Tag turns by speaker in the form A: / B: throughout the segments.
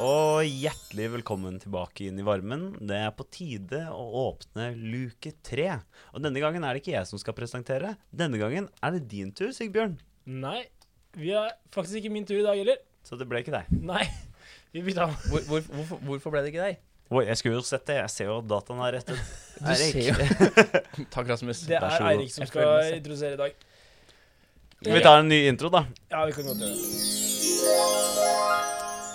A: og hjertelig velkommen tilbake inn i varmen. Det er på tide å åpne luke tre. Og denne gangen er det ikke jeg som skal presentere. Denne gangen er det din tur, Sigbjørn.
B: Nei, vi er faktisk ikke min tur i dag heller.
A: Så det ble ikke deg.
B: Nei, vi bytta om.
C: Hvor, hvor, hvorfor, hvorfor ble det ikke deg?
A: Oi, jeg skulle jo sett det. Jeg ser jo at dataen er rettet.
C: Du jo Takk, Rasmus.
B: Det
A: Vær så
B: er
A: god.
B: Eirik som
C: Jeg føler meg
B: skal
C: sett.
B: introdusere i dag.
A: Vi tar en ny intro, da.
B: Ja, vi kan godt gjøre det.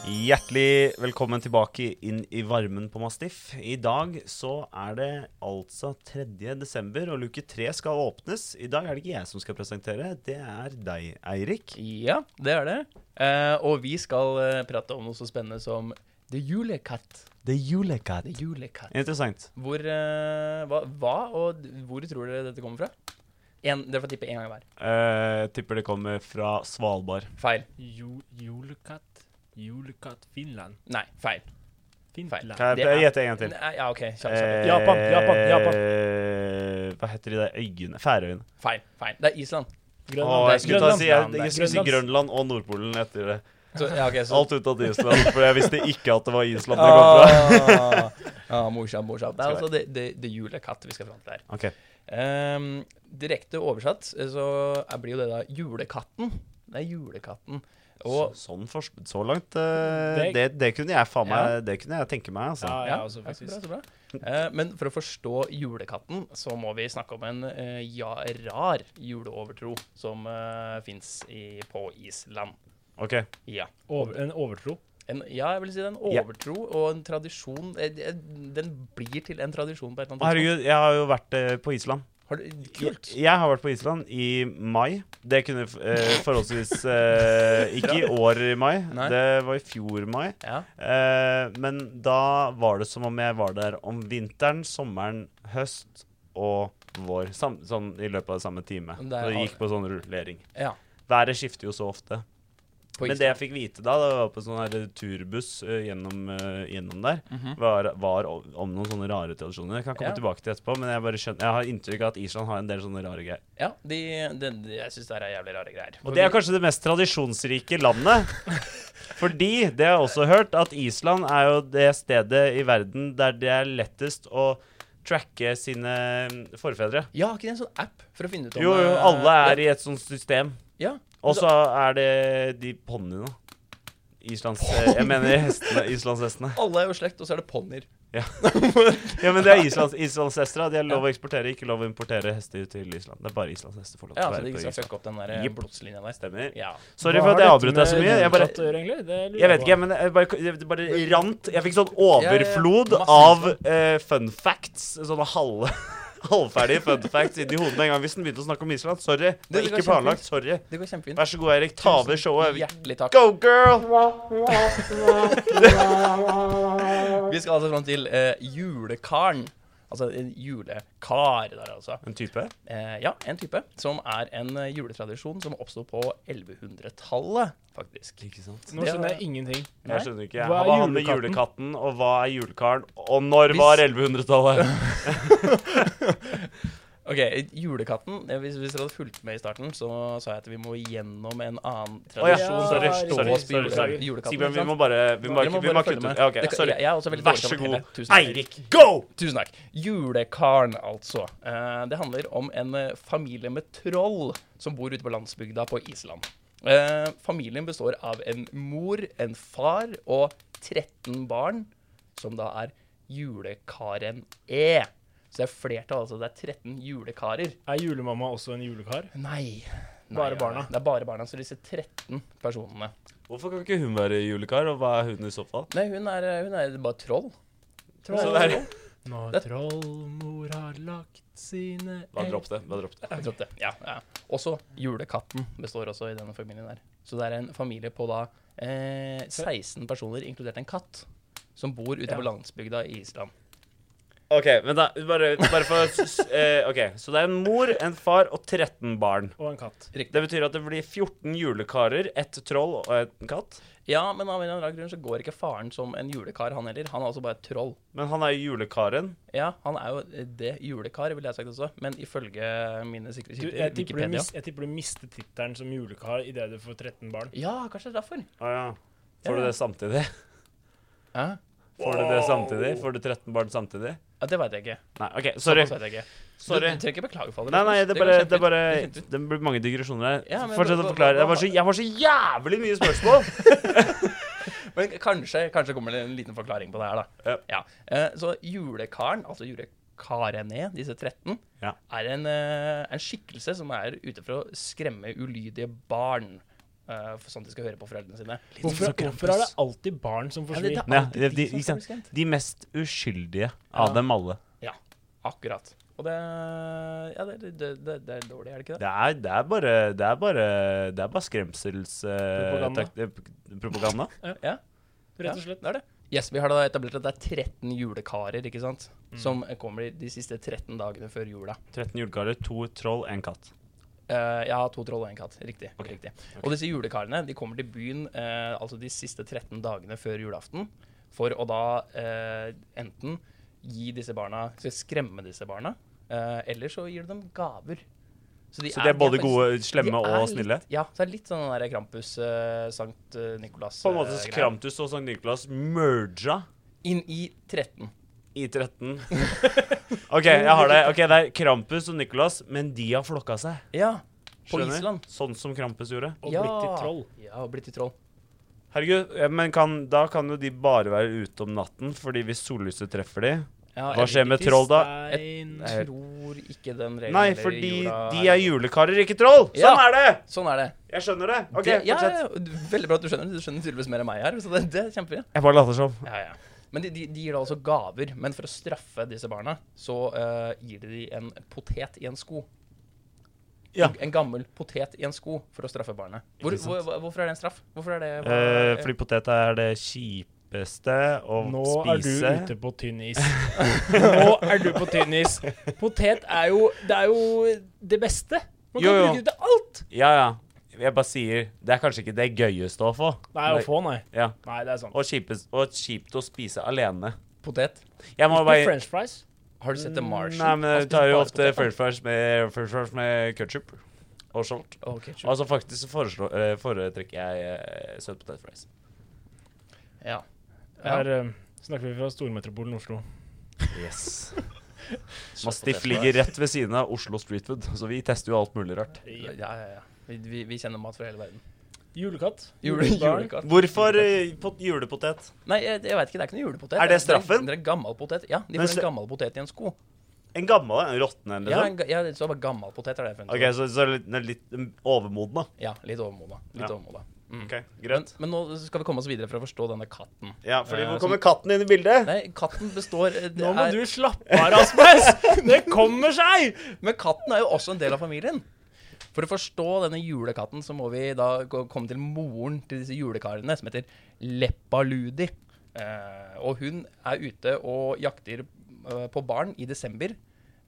A: Hjertelig velkommen tilbake inn i varmen på Mastiff. I dag så er det altså 3. desember, og luke 3 skal åpnes. I dag er det ikke jeg som skal presentere, det er deg, Eirik.
C: Ja, det er det. Eh, og vi skal eh, prate om noe så spennende som The Julekatt.
A: Det er julekatt.
C: The Julekatt.
A: Interessant.
C: Hvor, eh, hva, hva og d- hvor tror dere dette kommer fra? En, dere får tippe én gang hver.
A: Eh, tipper det kommer fra Svalbard.
C: Feil.
B: Jo, julekatt, julekatt, Finland.
C: Nei, feil.
B: Finland.
A: Kan
C: Det
A: jeg
C: er-
A: jeg gjette en gang til?
C: Nei, ja, OK. Kjapt. kjapt.
B: Japan, Japan, Japan.
A: Eh, Hva heter de der øyene? Færøyene.
C: Feil. feil. Det er Island.
A: Å,
B: Grønland.
A: jeg skulle, ta, si, jeg,
C: Grønland.
A: jeg skulle si Grønland og Nordpolen etter det.
C: Så, ja, ok, så,
A: Alt unntatt Island, for jeg visste ikke at det var Island det kom fra.
C: Ah, ah, morsomt, morsomt. Det er altså The, the, the Julekatt vi skal fram til her.
A: Ok,
C: Ehm, direkte oversatt eh, så er- blir jo det da julekatten. Det er julekatten.
A: så,
C: Og
A: sånn for, så langt eh,
B: Det-
A: det, det kunne jeg faen meg
C: Ja.
A: Det kunne jeg tenke meg, altså.
B: Ja, ja, også
C: ja, så
B: faktisk.
C: bra, så bra. Eh, men for å forstå julekatten, så må vi snakke om en eh, ja, rar juleovertro som uh, fins på Island.
A: Ok,
C: Ja.
B: Over, en overtro.
C: En, ja, jeg vil si det er en
A: Ja.
C: overtro og en tradisjon. eh, eh, Den blir til en tradisjon på et eller annet
A: Herregud, jeg har jo vært eh, på Island.
C: Har du, kult.
A: Jeg, jeg har vært på Island i mai. Det kunne eh, forholdsvis eh, Ikke i år i mai,
C: Nei.
A: det var i fjor mai.
C: Ja.
A: Eh, men da var det som om jeg var der om vinteren, sommeren, høst og vår. Sam, sånn i løpet av samme time.
C: Men
A: Og
C: det er
A: det
C: alt-
A: gikk på sånn rullering.
C: ja.
A: Været skifter jo så ofte.
C: På
A: men det jeg fikk vite da, da jeg var på sånn her turbuss eh, gjennom, eh, gjennom der, var, var o- om noen sånne rare tradisjoner. Jeg kan komme
C: Mhm. Ja.
A: tilbake til etterpå, men jeg bare skjønner Jeg har inntrykk av at Island har en del sånne rare greier.
C: Ja, de, de, de, jeg syns det her er jævlig rare greier.
A: Og det er kanskje det mest tradisjonsrike landet. Fordi, det har jeg også hørt, at Island er jo det stedet i verden der det er lettest å tracke sine mm, forfedre.
C: Ja, har ikke det en sånn app for å finne ut om
A: Jo, jo,
C: eh,
A: alle er i et sånt system.
C: Ja. Altså,
A: Og så er det de ponniene. Islands, eh, jeg mener hestene, islandshestene.
C: Alle er jo slekt, og så er det ponnier.
A: Ja, men det er Islands, islandshester. da. De har lov å eksportere, ikke lov å importere hester til Island. Det er bare islandshester får lov til å
C: Ja, så de
A: være
C: ikke
A: på
C: skal
A: Island.
C: fucke opp den der eh,
A: Jepp.
C: blodslinja der.
A: Stemmer.
C: Ja.
A: Sorry for at jeg avbrøt deg så mye. Jeg bare, Jeg vet ikke, men det bare, det bare rant Jeg fikk sånn overflod
C: Ja, ja, ja.
A: av
C: Masse
A: eh, fun facts. Sånne halv, halvferdige fun facts inni hodet med en gang hvis den begynte å snakke om Island. Sorry. Det var
C: Det går
A: ikke
C: kjempefint.
A: planlagt. Sorry.
C: Det går kjempefint.
A: Vær så god, Erik. Ta over showet.
C: Hjertelig takk.
A: Go, girl!
C: Vi skal altså fram til eh, julekaren. Altså en julekar der, altså.
A: En type?
C: Eh, ja, en type som er en eh, juletradisjon som oppsto på 1100-tallet, faktisk.
A: Ikke sant.
B: Nå skjønner jeg ingenting.
C: Nei.
A: Jeg skjønner ikke.
B: Hva
A: Hva
B: er
A: er han med julekatten, og hva er julekaren? Og når var 1100-tallet?
C: Ok, Julekatten eh, Hvis, hvis dere hadde fulgt med i starten, så sa jeg at vi må gjennom en annen
A: Å ja,
C: tradisjon. for
A: sorry.
C: å forstå
A: Sorry.
C: oss på
A: sorry,
C: jule-
A: sorry.
C: julekatten,
A: Sigbjørn,
C: ikke
A: vi
C: sant?
A: må bare Vi må,
C: Dere må
A: vi må
C: bare følge
A: kutte
C: med.
A: ut. Ja, ok,
C: Det-
A: sorry.
C: Jeg er også veldig
A: Vær så
C: dårlig på å
A: god.
C: fortelle. Tusen takk.
A: Eirik, go!
C: Tusen takk. Julekaren, altså. Eh, det handler om en eh, familie med troll som bor ute på landsbygda på Island. Eh, familien består av en mor, en far og 13 barn, som da er julekaren E. Så det er flertall, altså. Det er 13 julekarer.
B: Er julemamma også en julekar?
C: Nei. Nei,
B: Bare
C: ja,
B: barna.
C: Det er bare barna, så disse 13 personene.
A: Hvorfor kan ikke hun være julekar, og hva er hun i så fall?
C: Nei, hun er, hun er bare troll. Troll.
A: Så det er-
B: Når
C: Det-
B: trollmor har lagt sine
A: Bare dropp det. Bare dropp det.
C: Jeg droppet det. Ja, ja. Også julekatten består også i denne familien der. Så det er en familie på da eh, 16 personer, inkludert en katt, som bor ute på
B: Ja.
C: landsbygda i Island.
A: Ok, men da, bare, bare for s- s- eh, Ok, så det er en mor, en far og 13 barn.
B: Og en katt.
A: Det betyr at det blir 14 julekarer, ett troll og en katt.
C: Ja, men av en eller annen grunn så går ikke faren som en julekar, han heller. Han er altså bare et troll.
A: Men han er jo julekaren.
C: Ja, han er jo det julekar, ville jeg sagt også, men ifølge mine sikre
B: Du,
C: kilder,
B: jeg, tipper du
C: Wikipedia
B: mis, jeg tipper du mister tittelen som julekar idet du får 13 barn.
C: Ja, kanskje det er derfor.
A: Å ja. Får du det samtidig?
C: Hæ?
A: Får du det samtidig? Får du 13 barn samtidig?
C: Ja, det veit jeg ikke.
A: Nei, OK, sorry.
C: Såpass vet jeg ikke.
A: Sorry.
C: Du, du trenger ikke beklage for det.
A: Nei, nei, det er bare,
C: går
A: det er
C: kjempefint.
A: bare
C: går kjempefint.
A: Det blir mange digresjoner
C: Ja,
A: her.
C: men
A: Fortsett
C: hva-
A: å
C: hva-
A: forklare. Jeg
C: hva-
A: var så, jeg var så jævlig mye spørsmål!
C: Men kanskje, kanskje kommer det en liten forklaring på det her, da. Ja. Eh, Så julekaren, altså julekarene, disse 13,
A: Ja.
C: er en, eh, en skikkelse som er ute for å skremme ulydige barn. eh, For sånn at de skal høre på foreldrene sine.
B: Hvorfor,
A: som Krampus.
B: hvorfor er det alltid barn som
C: Ja, det
B: forsvinner?
C: er
A: Ja,
C: alltid
A: de, de,
C: de som
A: ikke
C: får bli
A: sant? de mest uskyldige av
C: Ja.
A: dem alle.
C: Ja, akkurat. Og det, ja, det, det, det, det er dårlig, er det ikke det?
A: Det er, det er bare Det er bare, det er bare eh, skremselspropaganda.
B: Propaganda.
A: propaganda.
C: Ja,
B: Rett og slett.
C: det er det. Yes, Vi har da etablert at det er 13 julekarer ikke sant? som kommer de siste 13 dagene før jula.
A: 13 julekarer, to troll, én katt.
C: Eh, jeg har to troll og en katt. Riktig. riktig. Og disse julekarene de kommer til byen eh, altså de siste 13 dagene før julaften for å da eh, enten gi disse barna skal Skremme disse barna, eh, eller så gir du dem gaver. de
A: Så de er både
C: faktisk-
A: gode, slemme
C: de er
A: og snille?
C: Litt, ja. så det er litt sånn den der Krampus, eh, Sankt eh, Nikolas
A: På en måte
C: eh,
A: så
C: greia.
A: Krampus og Sankt Nikolas merga
C: Inn i 13.
A: i 13. OK, jeg har det. Ok, Det er Krampus og Nikolas, men de har flokka seg.
C: Ja. På
A: Skjønner?
C: Island.
A: Sånn som Krampus gjorde.
B: Og
C: ja.
B: blitt til troll.
C: Ja, og blitt til troll.
A: Herregud, ja, men kan, da kan jo de bare være ute om natten, fordi hvis sollyset treffer de
C: Ja,
A: Hva
C: eller
A: skjer med
B: Til
A: troll, da?
B: stein.
A: Nei.
C: Jeg tror ikke den regelen
A: Nei,
C: gjelder i
A: fordi
C: jorda
A: de
C: her.
A: er julekarer, ikke troll!
C: Ja.
A: Sånn er det!
C: Sånn er det.
A: Jeg skjønner det. OK,
C: det, ja,
A: fortsett.
C: ja, ja. Veldig bra at du skjønner det. Du skjønner tydeligvis mer enn meg her. Så det, det er kjempefint.
A: Jeg bare later som.
C: Ja, ja. Men de, de, de gir da også gaver. Men for å straffe disse barna, så eh, gir de de en potet i en sko.
A: Ja.
C: En, en gammel potet i en sko for å straffe barnet. Hvor,
A: Ikke sant.
C: hvor, hvorfor er det en straff? Hvorfor er det
A: Eh, fordi potet er det kjipeste å
B: Nå er du
A: spise.
B: ute på tynn is. Nå er du på tynn is. Potet er jo Det er jo det beste. Man kan
A: Jo, jo.
B: bruke det til alt.
A: Ja, ja. Jeg bare sier Det er kanskje ikke det gøyeste å få.
B: Nei, å få, nei.
A: Ja.
B: Nei, det er sant.
A: Og, kjipest, og kjipt å spise alene.
C: Potet?
A: Jeg må
B: Ikke
A: bare
B: French fries.
C: Har du sett The
A: Mm,
C: Martian?
A: Nei, men
C: Han
A: jeg
C: spiser
A: tar jo
C: bare
A: ofte
C: potet, han.
A: french fries med, french fries med ketchup og salt.
C: Å, ketchup.
A: Altså faktisk så foreslår, eh, foretrekker jeg eh, søt potet fries.
C: Ja. Ja.
B: Her eh, snakker vi fra stormetropolen Oslo.
A: Yes.
C: Søt
A: Mastiff
C: potet,
A: ligger rett ved siden av Oslo Street Food, så vi tester jo alt mulig rart.
C: Ja, ja, ja. Vi, vi, vi kjenner mat fra hele verden.
B: Julekatt.
C: Jule,
B: Julebarn.
C: julekatt.
A: Hvorfor eh, pot- julepotet?
C: Nei, jeg, jeg vet ikke. Det er ikke noe julepotet.
A: Er det
C: Det
A: straffen?
C: er, det er en gammel potet. Ja, de
A: Men
C: får
A: sl-
C: en gammel potet i en sko.
A: En gammel en? Råtten en,
C: Ja,
A: liksom?
C: en, ga- ja, så bare gammel potet er det jeg funnet
A: OK,
C: ut.
A: så, så litt, litt overmoden, da.
C: Ja, litt overmoda. Litt
A: Ja.
C: overmoda.
A: OK,
C: Men,
A: greit.
C: men nå skal vi komme oss videre for å forstå denne katten.
A: Ja, fordi
C: Eh,
A: hvor
C: som-
A: kommer katten inn i bildet?
C: Nei, katten består eh, det
B: Nå må
C: er-
B: du slappe av, Rasmus! Det kommer seg!
C: Men katten er jo også en del av familien. For å forstå denne julekatten, så må vi da gå- komme til moren til disse julekarene, som heter Leppaludi. Eh, og hun er ute og jakter eh, på barn i desember.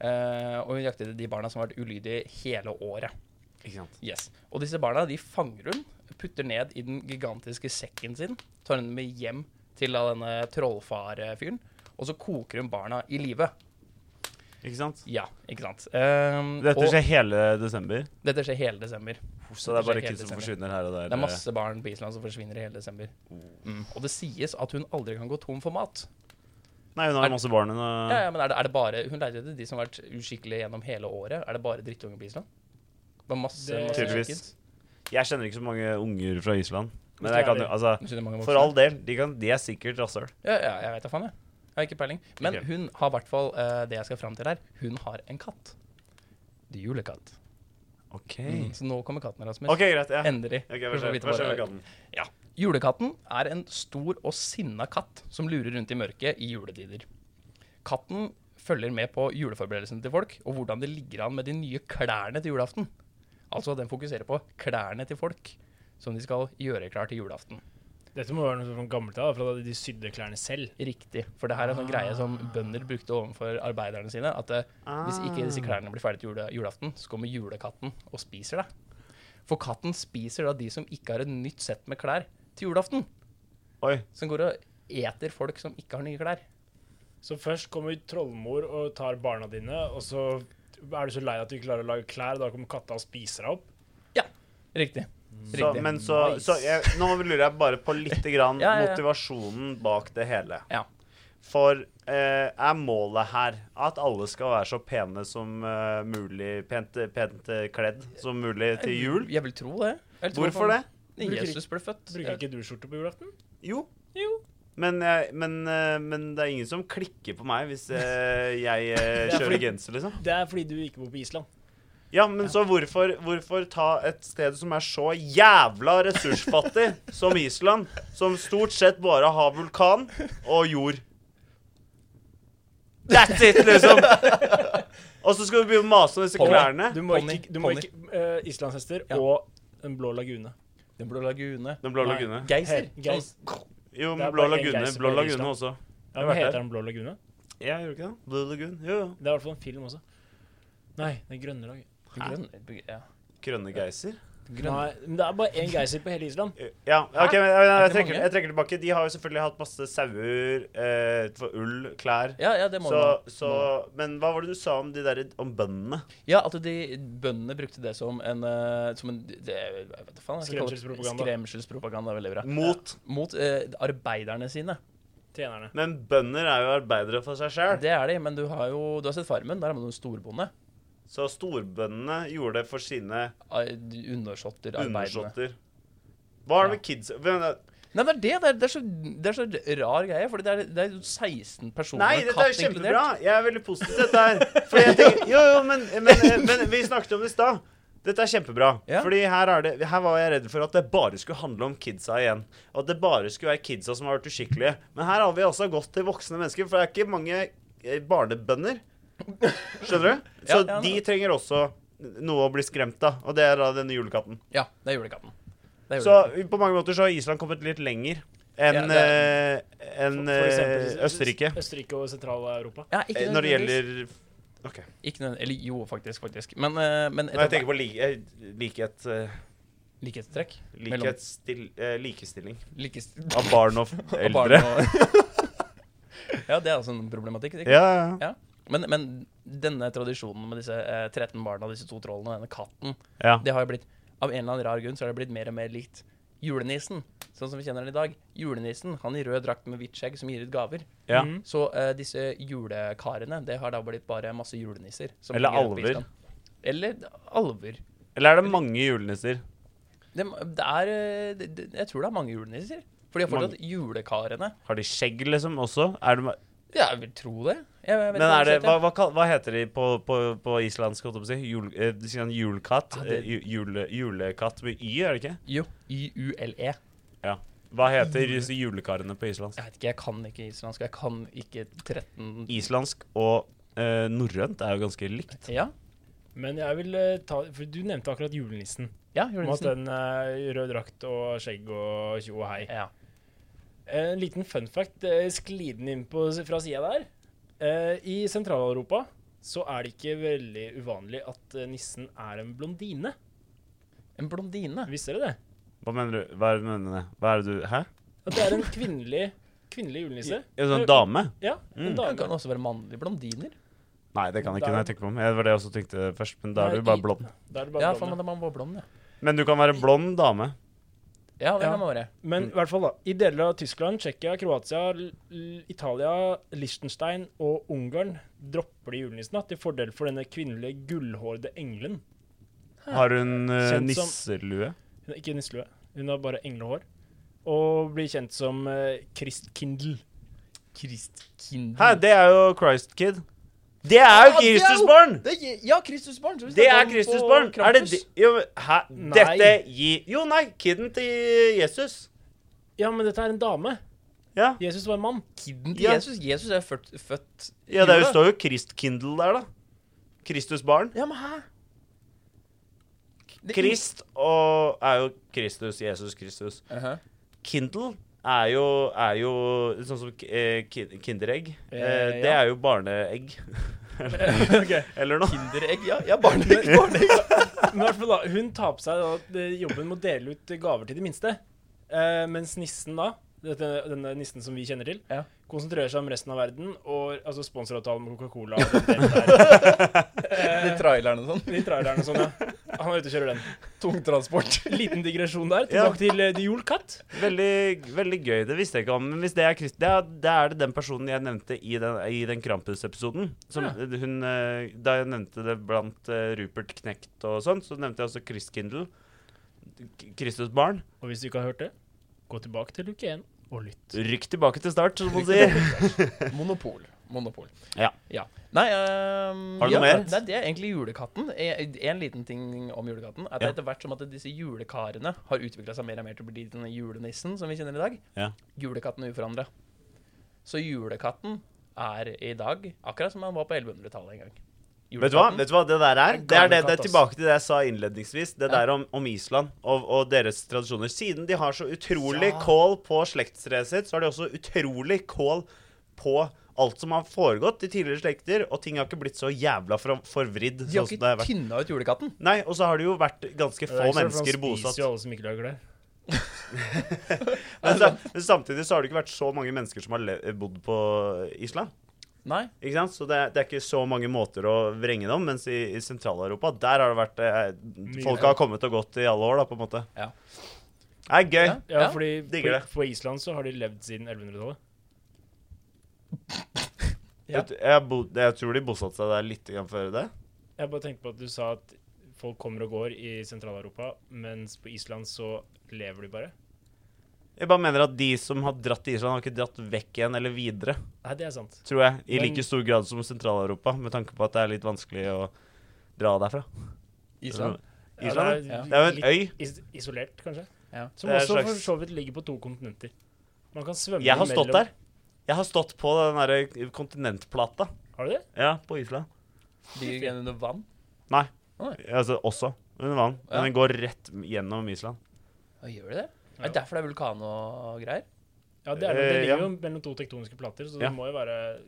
C: Eh, og hun jakter de barna som har vært ulydige hele året.
A: Ikke sant.
C: Yes. Og disse barna de fanger hun, putter ned i den gigantiske sekken sin, tar henne med hjem til da denne trollfarfyren, og så koker hun barna i live.
A: Ikke sant?
C: Ja, ikke sant. Ehm,
A: Dette
C: og
A: skjer hele desember,
C: dette skjer hele desember.
A: så det er bare
C: skjer hele
A: kids som
C: desember.
A: forsvinner her og der.
C: Det er masse barn på Island som forsvinner i hele desember. Mm. Og det sies at hun aldri kan gå tom for mat.
A: Nei, hun
C: Er-
A: har masse barn. Hun
C: Ja,
A: har...
C: ja, men er det, er det bare, Hun leter etter de som har vært uskikkelige gjennom hele året. Er det bare drittunger på Island? Det var masse,
B: Det-
C: masse
A: Tydeligvis.
C: kids.
A: Jeg kjenner ikke så mange unger fra Island. Men
B: Hvis
A: jeg
B: du er
A: kan jo,
B: det.
A: altså
C: Jeg synes det er mange
A: For
C: voksne.
A: all del, de, kan, de er sikkert rasshøl.
C: Ja, ja, jeg vet da faen, jeg. Jeg har ikke peiling. Men
A: Ok.
C: hun har i hvert fall eh, det jeg skal fram til her. Hun har en katt. Det er Julekatt.
A: OK.
C: Mm. Så nå kommer katten, Rasmus.
A: OK, greit. Ja.
C: Endelig.
A: Ok,
C: Du
A: hva
C: får
A: skjer,
C: vite
A: hva skjer
C: bare-
A: med katten?
C: Ja. Julekatten er en stor og sinna katt som lurer rundt i mørket i juletider. Katten følger med på juleforberedelsene til folk og hvordan det ligger an med de nye klærne til julaften. Altså at den fokuserer på klærne til folk som de skal gjøre klar til julaften.
B: Dette må være noe sånn gammelt av, fra da de sydde klærne selv.
C: Riktig. For det her er en sånn greie som bønder brukte overfor arbeiderne sine. At eh, hvis ikke disse klærne blir ferdig til jule, julaften, så kommer julekatten og spiser deg. For katten spiser da de som ikke har et nytt sett med klær til julaften.
A: Oi.
C: Som går og eter folk som ikke har nye klær.
B: Så først kommer trollmor og tar barna dine, og så er du så lei at du ikke klarer å lage klær, da kommer katta og spiser deg opp.
C: Ja, riktig.
A: Mm. Så,
C: Riktig.
A: men så,
B: Nice.
A: så jeg, Nå lurer jeg bare på litt grann
C: Ja, ja, ja.
A: motivasjonen bak det hele.
C: Ja.
A: For eh, er målet her at alle skal være så pene som eh, mulig, pent, pent eh, kledd som mulig til jul?
C: Jeg vil tro det. Jeg tror
A: Hvorfor det?
C: han-
B: Bruker
C: Jesus ble født.
B: Bruker ikke du skjorte på julaften?
A: Jo.
B: Jo.
A: Men, jeg, men, eh, men det er ingen som klikker på meg hvis eh, jeg eh,
B: Det er fordi-
A: kjører genser, liksom.
B: Det er fordi du ikke bor på Island.
A: Ja, men så hvorfor, hvorfor ta et sted som er så jævla ressursfattig som Island, som stort sett bare har vulkan og jord? That's it, liksom! Og så skal du begynne å mase om disse
C: Pony.
A: klærne.
B: Du må
C: Pony,
B: ikke, du må
C: pony.
B: ikke eh, Islandshester
C: Ja.
B: og Den blå lagune.
C: Den blå lagune.
A: Den blå
B: Nei.
A: lagune.
C: Geiser.
B: Hei, Geis.
A: Jo,
B: Det er
A: men blå
B: bare en
A: lagune,
B: geis som
A: blå
B: er i
A: lagune
B: Island.
A: også.
B: Ja,
A: har
B: men
A: vært
B: heter
A: der.
B: den blå lagune?
A: Ja, gjør du ikke det? Blå lagun. Jo, jo.
B: Det er i hvert fall en film også. Nei, det er grønne lag.
C: Sånn Grønn. Ja.
A: Grønne geiser.
C: Grønn.
B: Nei, men det er bare én geyser på hele Island.
A: Ja, ok, men jeg, jeg,
C: det
A: trekker,
C: mange?
A: jeg trekker tilbake. De har jo selvfølgelig hatt masse sauer, eh, for ull, klær.
C: Ja, ja, det må
A: Så,
C: man.
A: så, men hva var det du sa om de der, om bøndene?
C: Ja, at de bøndene brukte det som en, eh, som en det, jeg vet da faen, jeg skal kalle det-
B: Skremselspropaganda.
C: Skremselspropaganda. Veldig bra.
A: Mot.
C: Mot eh, arbeiderne sine.
B: Tjenerne.
A: Men bønder er jo arbeidere for seg sjøl.
C: Det er de, men du har jo du har sett Farmen. Der har man jo en storbonde.
A: Så storbøndene gjorde det for sine
C: Ar- Undersåtter, arbeiderne.
A: undersåtter. Hva er det med kids Hvem er det?
C: Nei, det er det. Det er, det er, så, det er så rar greie. For det er, det er jo 16 personer.
A: Nei,
C: med
A: dette er
C: katt
A: jo
C: inkludert.
A: kjempebra! Jeg er veldig positiv til dette her. Fordi jeg tenker, jo, jo, men, men, men vi snakket om det i stad. Dette er kjempebra.
C: Ja.
A: Fordi her, er det, her var jeg redd for at det bare skulle handle om kidsa igjen. Og at det bare skulle være kidsa som har vært uskikkelige. Men her har vi altså gått til voksne mennesker, for det er ikke mange eh, barnebønder. Skjønner du? Så
C: Ja, ja,
A: de
C: det-
A: trenger også noe å bli skremt av, og det er da denne julekatten.
C: Ja, det er julekatten. Det er
A: Så
C: julekatten.
A: på mange måter så har Island kommet litt lenger enn
C: Ja, det er-
A: eh, enn,
B: For eksempel
A: eh, Østerrike.
B: Østerrike og Sentral-Europa.
C: ja, ikke
A: Eh, Når det
C: nødvendigvis.
A: gjelder OK.
C: ikke nødvendigvis. Eller jo, faktisk. faktisk. Men, eh, men
A: Når jeg tenker på li eh, likhet eh,
C: likhetstrekk mellom-
A: likhetsstill- eh, likestilling
C: likest...
A: av barn og
C: og barn
A: eldre.
C: og- ja, det er også en problematikk. ikke?
A: Ja, ja, ja.
C: Ja. Men, men denne tradisjonen med disse eh, 13 barna, disse to trollene og denne katten,
A: ja.
C: det har jo blitt Av en eller annen rar grunn så har det blitt mer og mer likt julenissen. Sånn som vi kjenner den i dag. Julenissen, han i rød drakt med hvitt skjegg som gir ut gaver.
A: Ja.
B: Mhm.
C: Så eh, disse julekarene, det har da blitt bare masse julenisser. som
A: Eller
C: ligger oppe i
A: alver.
C: Island. Eller alver.
A: Eller er det mange julenisser?
C: Det, det er eh, det, det, Jeg tror det er mange julenisser. For de har fortsatt julekarene.
A: Har de skjegg, liksom, også? Er det, ma-
C: Ja, jeg vil tro det. Jeg, jeg vet
A: men
C: ikke
A: er det,
C: helt, jeg.
A: hva, hva, kal- hva heter de på, på, på islandsk, holdt jeg på å si? Jul, eh, de sier han julekatt?
C: Ja,
A: Ja,
C: det-
A: jule, julekatt med y, er det ikke?
C: Jo, Y-U-L-E.
A: Ja. Hva heter disse julekarene på islandsk?
C: E. Jeg vet ikke, jeg kan ikke islandsk. Jeg kan ikke 13
A: Islandsk og eh, norrønt er jo ganske likt.
C: Ja,
B: Men jeg vil eh, ta For du nevnte akkurat julenissen.
C: ja
B: Om at
C: julenissen.
B: den eh, rød drakt og skjegg og tjo og hei.
C: Ja.
B: En liten fun fact eh, sklidende inn på, fra sida der. Eh, I Sentral-Europa så er det ikke veldig uvanlig at eh, nissen er en blondine.
C: En blondine.
B: Visste dere det?
A: Hva mener du? Hva er det du mener? Hva er det du Hæ?
B: At det er en kvinnelig, kvinnelig julenisse.
A: En sånn dame?
B: Ja, en
A: Mm.
C: Det kan
B: dame.
C: også være mannlige blondiner.
A: Nei, det kan jeg ikke
B: Da er
A: når jeg tenker meg om. Det var det jeg også tenkte først, men da
C: Nei,
A: er du bare
C: i-
A: blond.
B: Da er det
C: Ja,
B: bare
C: for
B: blonde.
C: man, man var blond, ja.
A: Men du kan være blond dame.
C: Ja, det
B: Ja.
C: kan man være.
B: Men
A: Mm.
B: i hvert fall, da. I deler av Tyskland, Tsjekkia, Kroatia, L- L- Italia, Liechtenstein og Ungarn dropper de julenissen da, til fordel for denne kvinnelige gullhårede engelen.
A: Har hun eh,
B: Kjent som-
A: nisselue?
B: Hun er ikke nisselue, hun har bare englehår. Og blir kjent som eh, Christkindl.
C: Kristkind...
A: Hæ, det er jo Christ Kid. Det er jo Kristusbarn!
C: Ja, Kristusbarn. så hvis
A: Det er
C: barn på
A: Kristusbarn! Er det
C: Krampus.
A: de, jo, men hæ?
B: Nei.
A: Dette gir Jo, nei, kiden til Jesus.
B: Ja, men dette er en dame.
A: Ja.
B: Jesus var en mann.
C: Kidden til
A: Ja.
C: Jesus. Jesus er født, født i
A: ja det er jo-
C: jula.
A: står jo Kristkindl der, da. Kristusbarn.
C: Ja, men hæ? Det-
A: Krist og er jo Kristus, Jesus Kristus.
C: Aha.
A: Kindle er jo, er jo sånn som eh, kin- Kinderegg. Eh,
C: Eh,
A: det
C: ja.
A: er jo barneegg.
B: Ok.
A: Eller noe.
C: Kinderegg, ja. Ja, barneegg. barneegg.
B: Men i hvert fall da, hun tar på seg da, at, eh, jobben med å dele ut gaver til de minste. Eh, mens nissen da, dette, denne nissen som vi kjenner til,
C: Ja.
B: konsentrerer seg om resten av verden og altså sponsoravtalen med Coca-Cola og den delen der.
C: De trailerne og sånn.
B: De trailerne og sånn, ja. Han er ute og kjører den. Tungtransport. Liten digresjon der.
A: Ja.
B: Tilbake til eh, The Yule Cat.
A: Veldig, veldig gøy. Det visste jeg ikke om. Men hvis det er Christ, det er, det er det den personen jeg nevnte i den, i den Krampus-episoden. Som
B: Ja.
A: hun, eh, Da jeg nevnte det blant eh, Rupert Knekt og sånn, så nevnte jeg også Chris Kindle. K- Kristus barn.
B: Og hvis du ikke har hørt det, gå tilbake til luke 1 og lytt.
A: Rykk tilbake til start, som man
C: Rykk
A: sier.
C: Monopol. Monopol.
A: Ja.
C: Nei ehm,
A: Har du noe
C: ja,
A: mer?
C: Nei, det er egentlig julekatten. En en liten ting om julekatten er at
A: Ja.
C: etter hvert som at disse julekarene har utvikla seg mer og mer til å bli denne julenissen som vi kjenner i dag,
A: Ja.
C: julekatten er uforandra. Så julekatten er i dag akkurat som han var på 1100-tallet en gang.
A: Vet du, hva?
C: Julekatten-
A: Vet du hva det der er? Det er, det, det er
C: Gammelkatt, ass.
A: tilbake til det jeg sa innledningsvis. Det
C: Ja.
A: der om, om Island og, og deres tradisjoner. Siden de har så utrolig
C: Ja.
A: kål på slektstreet sitt, så har de også utrolig kål på alt som har foregått i tidligere slekter, og ting har ikke blitt så jævla for, forvridd.
C: De
A: Sånn
C: har
A: som det
C: ikke
A: har vært.
C: tynna ut julekatten.
A: Nei, og så har det jo vært ganske
B: Det
A: få
B: er ikke så rart, for
A: mennesker
B: Han
A: bosatt.
B: spiser jo alle som ikke lager det.
A: Men, så, men samtidig så har det ikke vært så mange mennesker som har le bodd på Island.
C: Nei.
A: Ikke sant? Så det, er- det er ikke så mange måter å vrenge det om, mens i, i Sentral-Europa, der har det vært eh,
B: Mye.
A: Folk har kommet og gått i alle år, da, på en måte.
C: Ja.
A: Det er gøy.
C: Ja.
B: Ja, fordi
A: digger
B: på,
A: det.
B: på Island så har de levd siden 1100-tallet.
C: Ja.
A: Jeg, jeg, bo, jeg tror de bosatte seg der litt grann før det.
B: Jeg bare tenkte på at du sa at folk kommer og går i Sentral-Europa, mens på Island så lever de bare.
A: Jeg bare mener at de som har dratt til Island, har ikke dratt vekk igjen eller videre,
B: Nei, det er sant.
A: tror jeg. I
B: Men-
A: like stor grad som Sentral-Europa, med tanke på at det er litt vanskelig å dra derfra.
C: Island.
A: Island,
C: ja.
A: Det er jo en øy.
B: Is isolert, kanskje.
C: Ja.
B: Som
A: Det er en
B: også for
A: slags-
B: så vidt ligger på to kontinenter. Man kan svømme
A: Jeg har stått
B: mellom-
A: der. Jeg har stått på den derre kontinentplata.
B: Har du det?
A: Ja, på Island.
C: Ligger den under vann.
A: Nei.
C: Nei.
A: Altså også under vann. Men
C: Ja.
A: den går rett gjennom Island.
C: Hva gjør de det?
B: Ja.
C: Er det derfor det er vulkan og greier?
B: Ja, det, er, det
A: Eh, ja.
B: ligger jo mellom to tektoniske plater, så
A: Ja.
B: det må jo være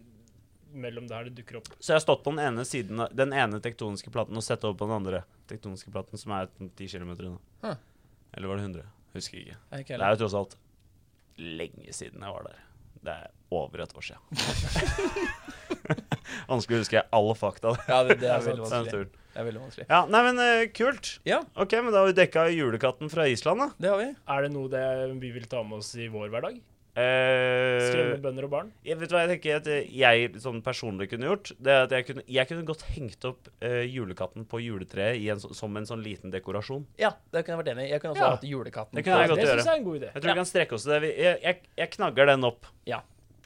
B: mellom der det dukker opp.
A: Så jeg har stått på den ene siden av den ene tektoniske platen og sett over på den andre tektoniske platen, som er 10 km unna.
C: Huh.
A: Eller var det 100? Husker ikke.
C: Er ikke
A: Det
C: heller.
A: er jo tross alt lenge siden jeg var der. Det er over et år siden. Vanskelig husker jeg alle fakta. der.
C: Ja, det, det
A: Det
C: er
A: er sant, det
C: veldig
A: er
C: vanskelig.
A: turen.
C: Det er veldig vanskelig.
A: Ja, nei, men eh, kult.
C: Ja,
A: Ok, men da har vi dekka julekatten fra Island, da.
C: det har vi.
B: Er det noe det vi vil ta med oss i vår hverdag?
A: Eh,
B: Skremme bønder og barn?
A: jeg vet du hva jeg tenker at jeg sånn personlig kunne gjort? Det er at jeg kunne, jeg kunne godt hengt opp eh, julekatten på juletreet i en, så- som en sånn liten dekorasjon.
C: Ja, det kunne jeg vært enig i. Jeg kunne også
B: Ja.
C: hatt julekatten.
A: Det kunne jeg
C: på-
A: godt
B: det
A: gjøre.
B: syns jeg er en god
A: Jeg
B: idé.
A: tror
C: Ja.
A: vi kan strekke oss til det. Vi- Jeg, jeg, jeg knagger den opp.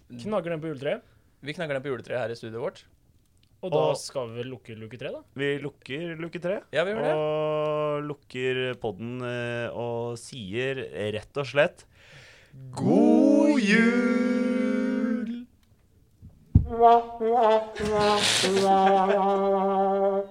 B: Knagger den på juletreet,
C: Vi knagger den på juletreet her i studioet vårt.
B: og da
A: Og-
B: skal vi vel lukke luke tre, da?
A: Vi lukker luke tre.
C: Ja, vi gjør det.
A: Og lukker podden eh, og sier rett og slett
C: God jul!
D: la la la la la